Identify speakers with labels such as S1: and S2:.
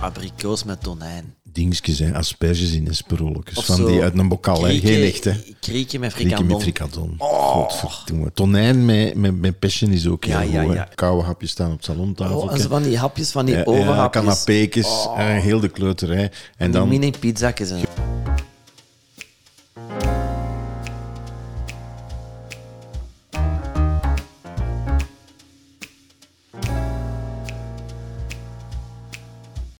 S1: abrikoos met tonijn.
S2: dingetjes, hè, asperges in esperolletjes.
S1: Of
S2: Van
S1: zo. eh,
S2: die uit een bokal, hè.
S1: Krieken-
S2: Heel echt, hè.
S1: Krieken met
S2: Krieken
S1: frikandel.
S2: met frikadon.
S1: Oh.
S2: Godverdomme. Tonijn met, met, met pesje is ook
S1: Ja,
S2: heel
S1: ja,
S2: goed,
S1: ja.
S2: hè. Koude hapjes staan op het Eh, salontafeltje.
S1: Oh, en zo van die hapjes, van die
S2: Ja, ja,
S1: overhapjes. Oh.
S2: Canapékes, eh, heel de kleuterij. En dan
S1: mini pizzakjes. En...